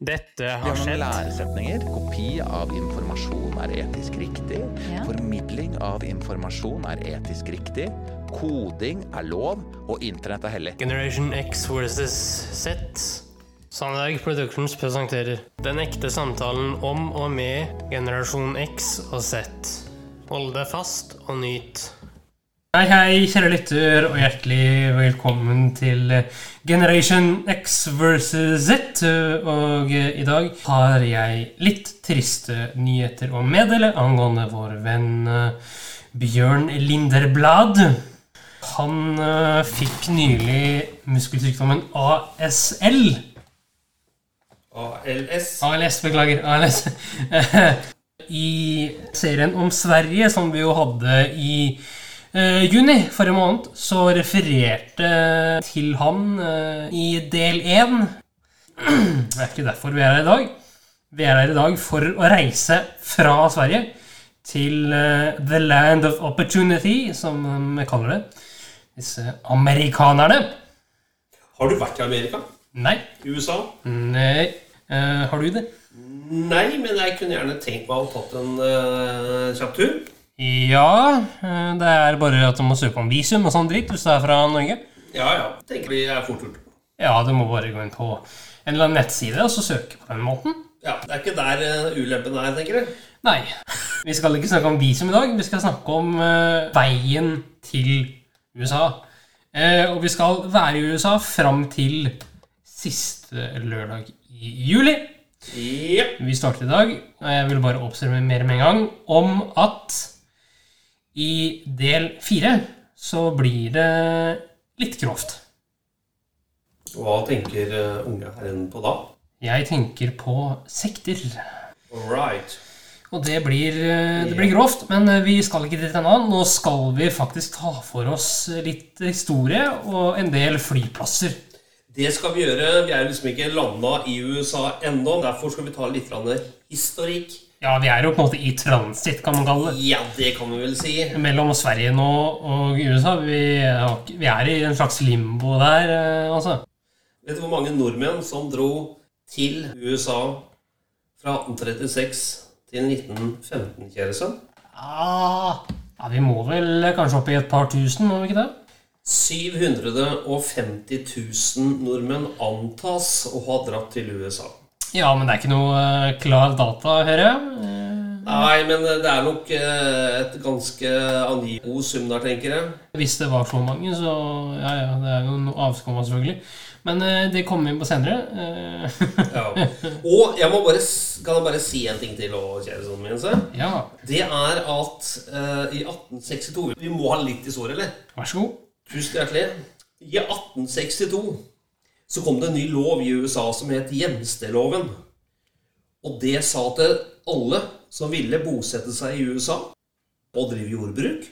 Dette har Vi har noen skjedd. læresetninger. Kopi av informasjon er etisk riktig. Ja. Formidling av informasjon er etisk riktig. Koding er lov, og internett er hellig. Generation X versus Z. Sandberg Productions presenterer Den ekte samtalen om og med generasjon X og Z. Hold deg fast og nyt. Hei, hei, kjære lytter, og hjertelig velkommen til Generation X versus Z. Og i dag har jeg litt triste nyheter å meddele angående vår venn eh, Bjørn Linderblad. Han eh, fikk nylig muskelsykdommen ASL. ALS. ALS, beklager. ALS. I serien om Sverige, som vi jo hadde i eh, juni forrige måned, så refererte til han eh, i del én. Det er ikke derfor vi er her i dag. Vi er her i dag for å reise fra Sverige til eh, The Land of Opportunity, som de kaller det. Disse amerikanerne. Har du vært i Amerika? Nei. USA? Nei. Eh, har du det? Nei, men jeg kunne gjerne tenkt meg å ha tatt en eh, kjapp tur. Ja. eh, Det er bare at du må søke om visum og sånn dritt hvis du er fra Norge. Ja, ja. Tenker vi er fort gjort. Ja, du må bare gå inn på en eller annen nettside og så søke på den måten. Ja, det er ikke der eh, ulempen er, tenker jeg. Nei. Vi skal ikke snakke om visum i dag. Vi skal snakke om eh, veien til USA. Eh, og vi skal være i USA fram til siste lørdag i juli. Ja. Vi starter i dag, og jeg vil bare oppsummere mer med en gang, om at i del fire så blir det litt grovt. Hva tenker eh, unge herren på da? Jeg tenker på sekter. All right. Og det blir, det blir grovt, men vi skal ikke dit ennå. Nå skal vi faktisk ta for oss litt historie og en del flyplasser. Det skal vi gjøre. Vi er liksom ikke landa i USA ennå. Derfor skal vi ta litt grann historikk. Ja, vi er jo på en måte i transit, kan man kalle det. Ja, det kan vi vel si. Mellom Sverige nå og USA. Vi er, vi er i en slags limbo der, eh, altså. Vet du hvor mange nordmenn som dro til USA fra 1836 til 1915, kjære sønn? Ah, ja, vi må vel eh, kanskje opp i et par tusen, må vi ikke det? 750 000 nordmenn antas å ha dratt til USA. Ja, men det er ikke noe eh, klar data, hører jeg. Eh, Nei, men det er nok eh, et ganske angivelig god sum der, tenker jeg. Hvis det var så mange, så ja, ja, det er jo noe avskum selvfølgelig. Men eh, det kommer vi inn på senere. Eh, Ja. Og jeg må bare, s- kan jeg bare si en ting til, også, kjæresten min. se? ja, Det er at eh, i 1862 Vi må ha litt historie, eller? vær så god. Tusen hjertelig. I 1862 så kom det en ny lov i USA som het hjemsteloven. Og det sa til alle som ville bosette seg i USA og drive jordbruk,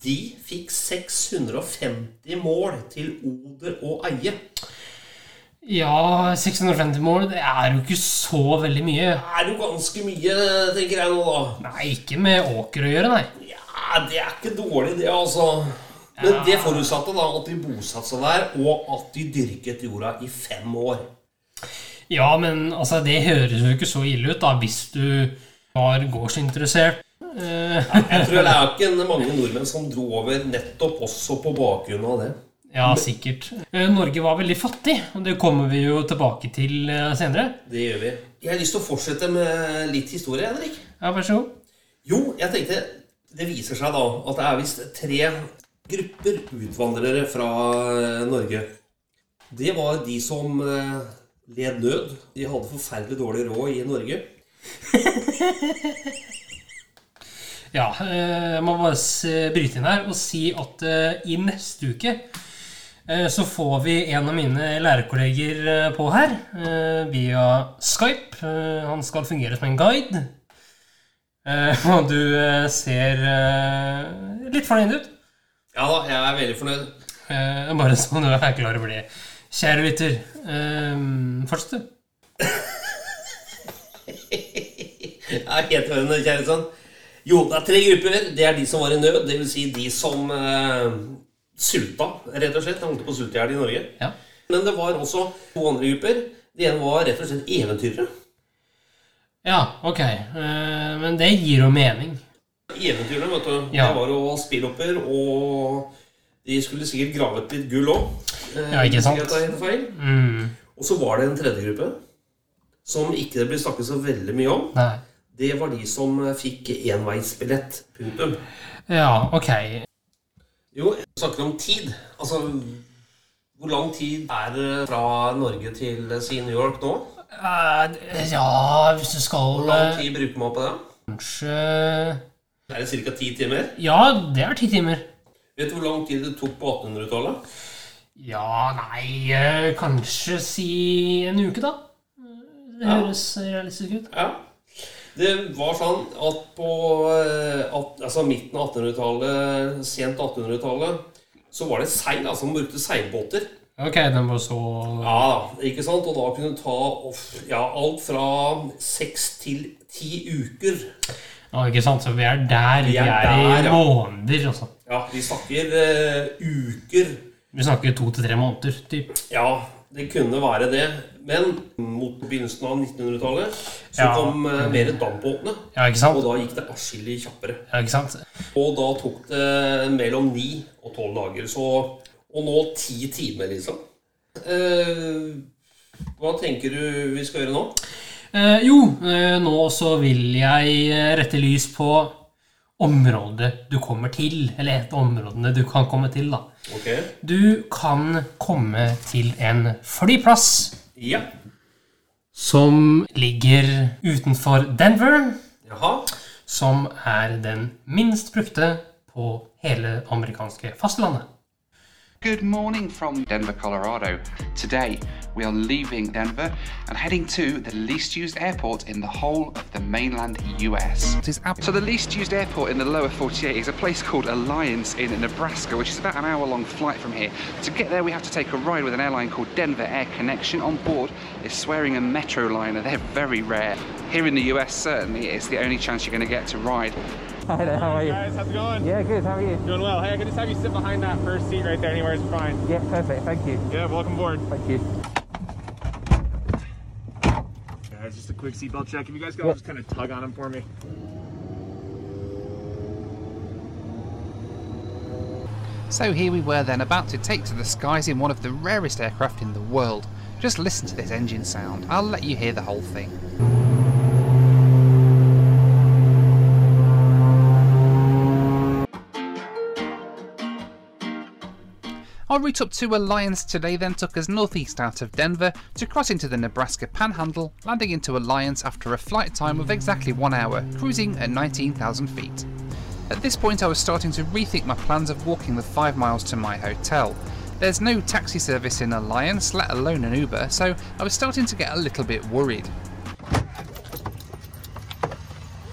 de fikk 650 mål til oder og eie. Ja, 650 mål, det er jo ikke så veldig mye. Det er jo ganske mye, tenker jeg nå, da. Nei, ikke med åker å gjøre, nei. Ja, det er ikke dårlig, det, altså. Men det forutsatte da at de bosatte seg der, og at de dyrket jorda i fem år. Ja, men altså, det høres jo ikke så ille ut da, hvis du var gårdsinteressert. Eh, Jeg tror det er ikke mange nordmenn som dro over nettopp også på bakgrunn av det. Ja, sikkert. Eh, Norge var veldig fattig, og det kommer vi jo tilbake til eh, senere. Det gjør vi. Jeg har lyst til å fortsette med litt historie, Henrik. Ja, vær så god. Jo, jeg tenkte Det viser seg da at det er visst tre grupper utvandrere fra eh, Norge. Det var de som eh, led nød. De hadde forferdelig dårlig råd i Norge. Ja, eh, jeg må bare s- bryte inn her og si at eh, i neste uke eh, så får vi en av mine lærerkolleger eh, på her eh, via Skype. Eh, Han skal fungere som en guide. Eh, Og du eh, ser eh, litt fornøyd ut. Ja da, jeg er veldig fornøyd. Eh, Bare så du er klar over det. Kjære lytter, eh, fortsett du. Jeg er helt enig, kjære sønn. Jo, det er tre grupper. Det er de som var i nød, dvs. Si de som eh, sulta, rett og slett. De holdt på å sulte i hjel i Norge. Ja. Men det var også to andre grupper. Det ene var rett og slett eventyrere. Ja, ok. Eh, men det gir jo mening. Eventyrene, vet du. Ja. Det var jo spillopper, og de skulle sikkert grave et litt gull Eh, òg. Ja, ikke sant? Og Mm. så var det en tredje gruppe som ikke det ble snakket så veldig mye om. Nei. Det var de som eh, fikk enveisbillett. Punktum. Ja, ok. Jo, jeg snakker om tid. Altså Hvor lang tid er det fra Norge til si New York nå? Eh, ja, hvis du skal Hvor lang eh, tid bruker man på det? Kanskje Er det ca. ti timer? Ja, det er ti timer. Vet du hvor lang tid det tok på 1800-tallet? Ja, nei eh, Kanskje si en uke, da. Det Ja. høres realistisk ut. Ja. Det var sånn at på eh, at, altså midten av 1800-tallet, sent 1800-tallet, så var det seil. Altså man brukte seilbåter. Ok, den var så Ja, ikke sant? Og da kunne du ta off- ja, alt fra seks til ti uker. Ja, ikke sant? Så vi er der. Vi Vi er, er der, i ja. måneder, altså. Ja, vi snakker eh, uker. Vi snakker to til tre måneder, typ. Ja, det kunne være det. Men mot begynnelsen av 1900-tallet så Ja. kom eh, mer dampbåtene. Ja, ikke sant? Og da gikk det atskillig kjappere. Ja, ikke sant? Og da tok det mellom ni og tolv dager. Så, og nå ti timer, liksom. Eh, hva tenker du vi skal gjøre nå? Eh, jo, eh, nå så vil jeg eh, rette lys på området du kommer til. Eller et av områdene du kan komme til, da. Ok. Du kan komme til en flyplass Ja. som ligger utenfor Denver, Jaha. som er den minst brukte på hele amerikanske fastlandet. Good morning from Denver, Colorado. Today, we are leaving Denver and heading to the least used airport in the whole of the mainland US. So, the least used airport in the lower 48 is a place called Alliance in Nebraska, which is about an hour long flight from here. To get there, we have to take a ride with an airline called Denver Air Connection. On board is swearing a Metro liner, they're very rare. Here in the US, certainly, it's the only chance you're going to get to ride. Hi there, how are you? Guys, how's it going? Yeah, good, how are you? Doing well. Hey, I could just have you sit behind that first seat right there, anywhere is fine. Yeah, perfect, thank you. Yeah, welcome aboard. Thank you. Guys, just a quick seatbelt check. If you guys could all just kind of tug on them for me. So here we were then, about to take to the skies in one of the rarest aircraft in the world. Just listen to this engine sound. I'll let you hear the whole thing. Our route up to Alliance today then took us northeast out of Denver to cross into the Nebraska Panhandle, landing into Alliance after a flight time of exactly one hour, cruising at 19,000 feet. At this point, I was starting to rethink my plans of walking the five miles to my hotel. There's no taxi service in Alliance, let alone an Uber, so I was starting to get a little bit worried.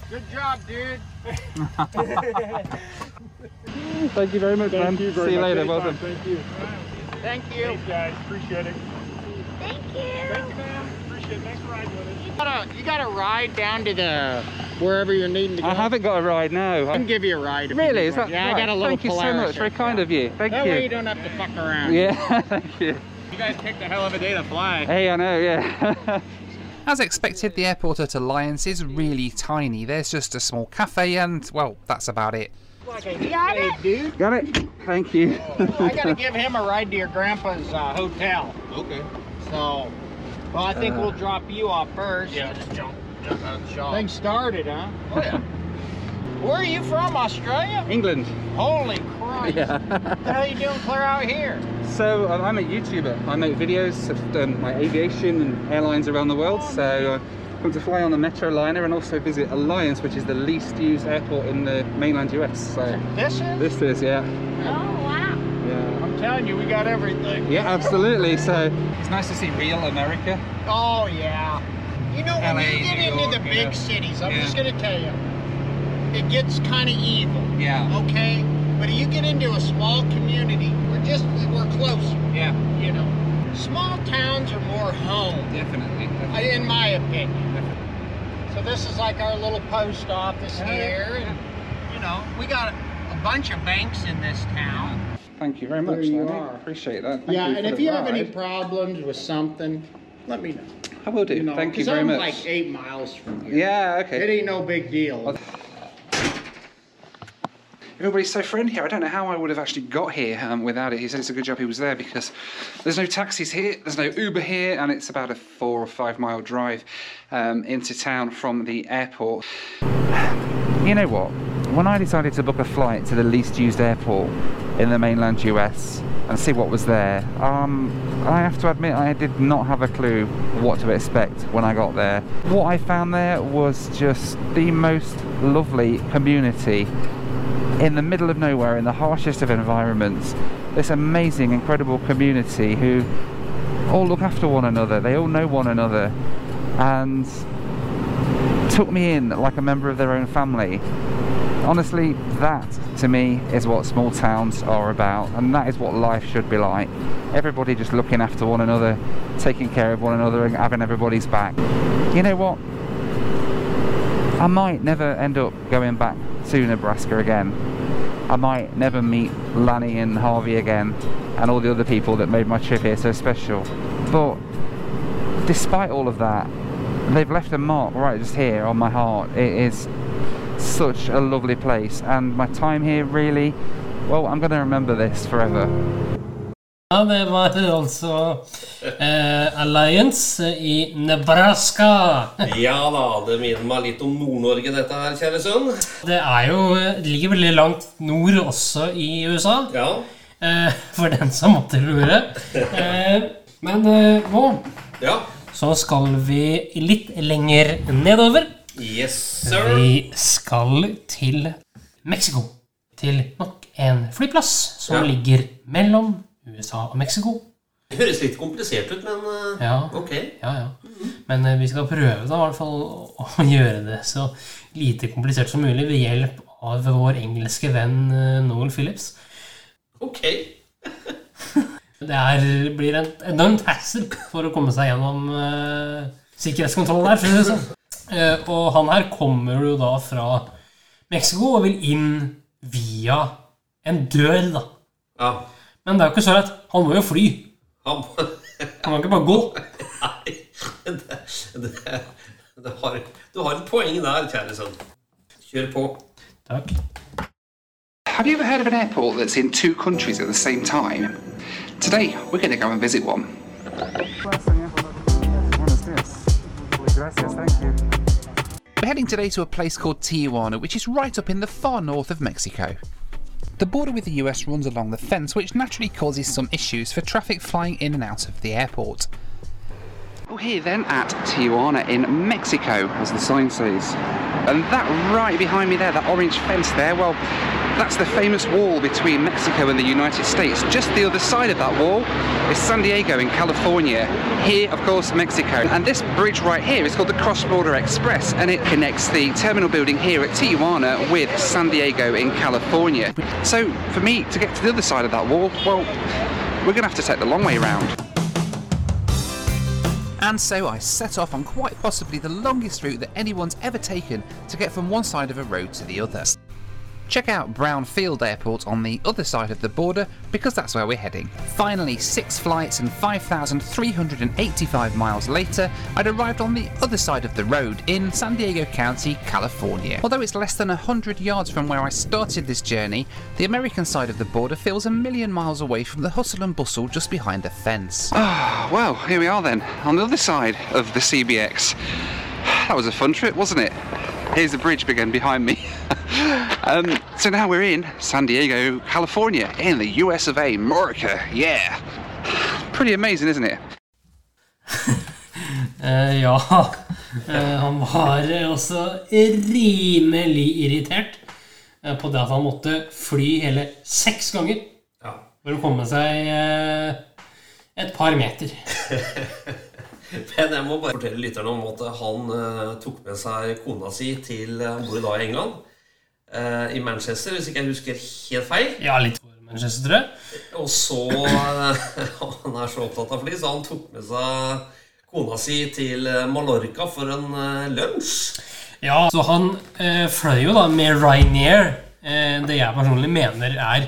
Good job, dude. Thank you very much, man. See you later. Well done. Thank you. Thank you. Thanks, guys. Appreciate it. Thank you. Thank you, man. Appreciate it. Thanks for riding with us. You got a, you got a ride down to the wherever you're needing to go. I haven't got a ride now. I can give you a ride. if you Uh, Really? need Is one. that yeah, right? I got a little Thank you so Polaris much. Very here. kind of you. Thank That you. way you don't have to fuck around. Yeah, thank you. You guys picked a hell of a day to fly. Hey, I know. Yeah. As expected, the airport at Alliance is really tiny. There's just a small cafe, and well, that's about it. Like a got it, dude. got it. Thank you. I gotta give him a ride to your grandpa's uh, hotel. Okay. Uh, So, well, I think we'll drop you off first. just jump, jump out the shop. Thing started, huh? Oh yeah. Where are you from, Australia? England. Holy Christ! What the hell you doing clear out here? So um, I'm a YouTuber. I make videos of um, my aviation and airlines around the world. So uh, come to fly on the Metro liner and also visit Alliance, which is the least used airport in the mainland US. So This is? this is yeah. wow. Yeah. I'm telling you, we got everything. Yeah, absolutely. So it's nice to see real America. Oh yeah. You know when LA, you get New into the York, big yeah. cities, I'm Yeah. just gonna tell you, it gets kind of evil. Yeah. Okay, but you get into a small community, we're just we're closer. Yeah. You know, small towns are more home, Definitely. I- in my opinion. So this is like our little post office here, and you know we got a bunch of banks in this town. Thank you very much. There you Lanny. are. Appreciate that. Thank yeah, for and if the you have any ride. problems with something, let me know. I will do. You know, Thank you 'cause very I'm much. like eight miles from here. yeah, It okay. ain't no big deal. Everybody's so friendly here. I don't know how I would have actually got here um, without it. He said it's a good job he was there because there's no taxis here, there's no Uber here, and it's about a four or five mile drive um, into town from the airport. You know what? When I decided to book a flight to the least used airport in the mainland US and see what was there, um, I have to admit I did not have a clue what to expect when I got there. What I found there was just the most lovely community in the middle of nowhere, in the harshest of environments, this amazing, incredible community who all look after one another, they all know one another, and took me in like a member of their own family. Honestly, that to me is what small towns are about, and that is what life should be like. Everybody just looking after one another, taking care of one another, and having everybody's back. You know what? I might never end up going back to Nebraska again. I might never meet Lanny and Harvey again and all the other people that made my trip here so special. But despite all of that, they've left a mark right just here on my heart. It is such a lovely place and my time here really, well, I'm going to remember this forever. Ja, det var altså eh, Alliance i Nebraska. Ja da, det minner meg litt om Nord-Norge, dette her, kjære sønn. Det er jo eh, ligger veldig langt nord også i USA, Ja. eh, for den som måtte lure. Eh, men eh, nå Ja. så skal vi litt lenger nedover. Yes, sir. Vi skal til Mexico. Til nok en flyplass som Ja. ligger mellom USA og Mexico. Det høres litt komplisert ut, men eh, Ja. ok. Ja, ja. Men eh, vi skal prøve da, i hvert fall å å gjøre det så lite komplisert som mulig ved hjelp av vår engelske venn eh, Noel Phillips. Ok. Det er, blir en enormt hassle for å komme seg gjennom eh, sikkerhetskontrollen her. for å si det sånn. Eh, og han her kommer jo da fra Mexico og vil inn via en dør, da. Ja. Men det er jo ikke så lett. Han må jo fly. Han, Han kan ikke bare gå. nei, det, det, det har, du har et poeng der, kjære sønn. Kjør på. Takk. Have you ever heard of an airport that's in two countries at the same time? Today, we're going to go and visit one. We're heading today to a place called Tijuana, which is right up in the far north of Mexico. The border with the US runs along the fence, which naturally causes some issues for traffic flying in and out of the airport. We're here then at Tijuana in Mexico, as the sign says. And that right behind me there, that orange fence there, well, that's the famous wall between Mexico and the United States. Just the other side of that wall is San Diego in California. Here, of course, Mexico. And this bridge right here is called the Cross Border Express, and it connects the terminal building here at Tijuana with San Diego in California. So, for me to get to the other side of that wall, well, we're going to have to take the long way round. And so I set off on quite possibly the longest route that anyone's ever taken to get from one side of a road to the other. Check out Brownfield Airport on the other side of the border because that's where we're heading. Finally, six flights and 5,385 miles later, I'd arrived on the other side of the road in San Diego County, California. Although it's less than 100 yards from where I started this journey, the American side of the border feels a million miles away from the hustle and bustle just behind the fence. Well, here we are then, on the other side of the CBX. That was a fun trip, wasn't it? Here's the bridge again behind me. um, so now we're in San Diego, California, in the US of A, America, yeah. Pretty amazing, isn't it? Eh, ja. Eh, han var også rimelig irritert eh, på det at han måtte fly hele seks ganger Ja. for å komme seg eh, et par meter. Men jeg må bare fortelle lytterne om at han eh, tok med seg kona si til eh, Han bor jo da i England. eh, I Manchester, hvis ikke jeg husker helt feil. Ja, litt for Manchester, tror jeg. Og så eh, Han er så opptatt av fly, så han tok med seg kona si til eh, Mallorca for en eh, lunsj. Ja, så han eh, fløy jo da med Ryanair, eh, det jeg personlig mener er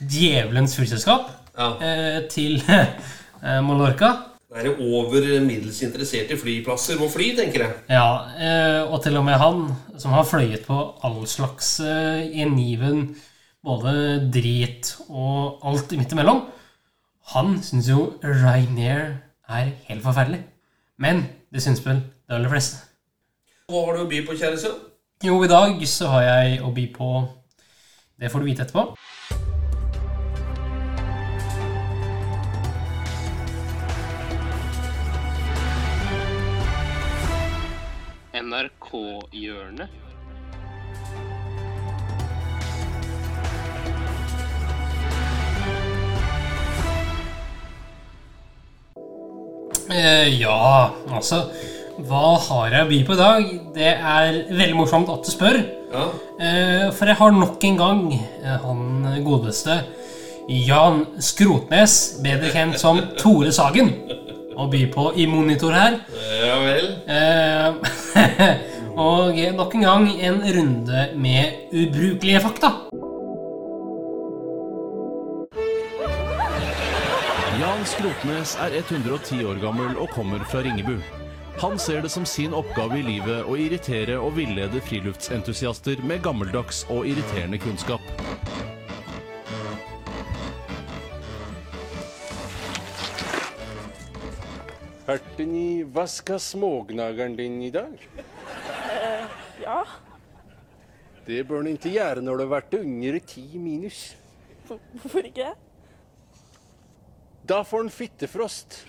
djevelens fullselskap, Ja. eh, til eh, Mallorca. Være over middels interessert i flyplasser og fly, tenker jeg. Ja, eh, og til og med han, som har fløyet på all slags eh, i niven, både drit og alt midt imellom, han syns jo Ryanair er helt forferdelig. Men det syns vel de aller fleste. Hva har du å by på, kjære sønn? Jo, i dag så har jeg å by på Det får du vite etterpå. NRK-hjørnet. Eh, ja, altså Hva har jeg å by på i dag? Det er veldig morsomt at du spør. Ja. Eh, For jeg har nok en gang eh, han godeste Jan Skrotnes, bedre kjent som Tore Sagen, å by på i monitor her. Ja vel. Eh, Og nok en gang en runde med ubrukelige fakta. Jan Skrotnes er 110 år gammel og kommer fra Ringebu. Han ser det som sin oppgave i livet å irritere og villede friluftsentusiaster med gammeldags og irriterende kunnskap. Hørte ni vaska smågnageren din i dag? Ja. Det bør ni ikke gjøre når det har vært under ti minus. Hvorfor ikke? Da får en fittefrost.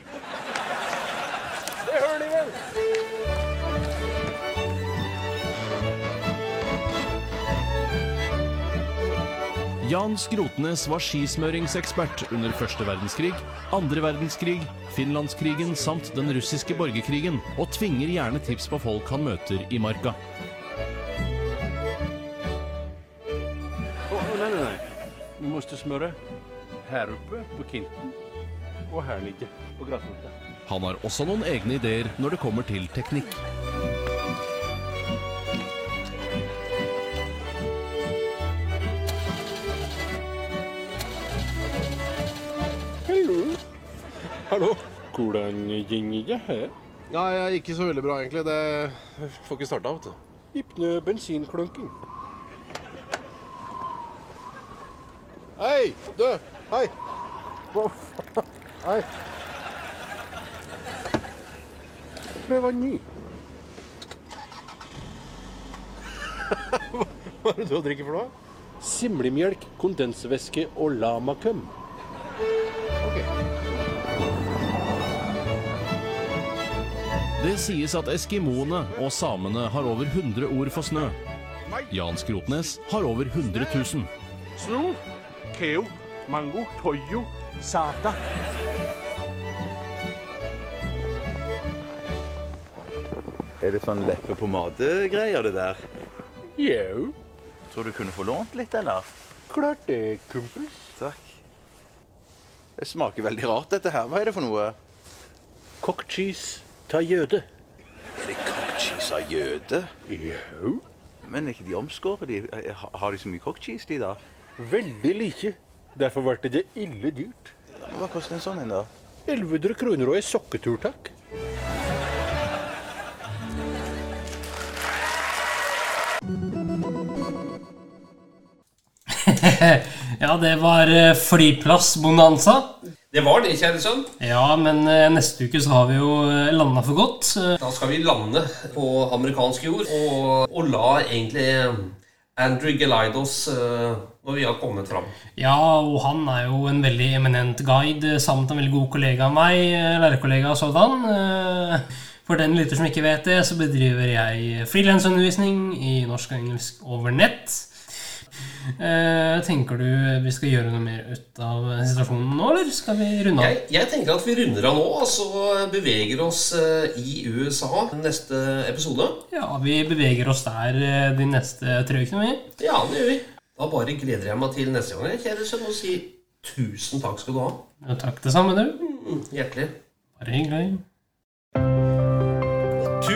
Det hører ni vel? Jan Skrotnes var skismøringsekspert under første verdenskrig, andre verdenskrig, Finlandskrigen samt den russiske borgerkrigen, og tvinger gjerne tips på folk han møter i marka. Å, å, nei, nei, nei. Vi måste smøre her oppe på kinten og her nede på grasrota. Han har også noen egne ideer når det kommer til teknikk. Hallo. Hallo. Hvordan gikk det her? Nei, jeg er ikke så veldig bra, egentlig. Det får ikke starta, vet du. Hypne bensinklunking. Hei, du! Hei! Hva faen? Hei. Prøv å ny. Hva er det du drikker for noe? Simlemjelk, kondensvæske og lamakøm. Det sies at eskimoene og samene har over 100 ord for snø. Jan Skrotnes har over 100 000. Sno, keo, mango, toyo, sata. Er det sånn leppepomadegreier, det der? Jau, Tror du kunne få lånt litt, eller? klart det, kumpel. Takk. Det smaker veldig rart, dette her. Hva er det for noe? Cock cheese ta jøde. Er det cock cheese av jøde? Jo. Men er ikke de omskåret? De, Eh, ha- har de så mye cock cheese, de, da? Veldig like. Derfor ble det ille dyrt. Hva koster en sånn en, da? 1100 kroner og en sokketur, takk. ja, det var eh, flyplassbonanza. Det var det, kjære sønn. Ja, men eh, neste uke så har vi jo eh, landa for godt. Eh, Da skal vi lande på amerikansk jord og, og la egentlig eh, Andrew Gelidos eh, når vi har kommet fram. Ja, og han er jo en veldig eminent guide, samt en veldig god kollega av meg, eh, lærerkollega og sådan. Eh, For den lytter som ikke vet det, så bedriver jeg frilansundervisning i norsk og engelsk over nett. Eh, Tenker du vi skal gjøre noe mer ut av situasjonen nå, eller skal vi runde av? Jeg, jeg tenker at vi runder av nå og så beveger oss eh, i USA neste episode. Ja, vi beveger oss der eh, de neste tre ukene, vi. Ja, det gjør vi. Da bare gleder jeg meg til neste gang, jeg, kjære sønn, og sier tusen takk skal du ha. Ja, Takk det samme, du. Hjertelig. Bare hyggelig.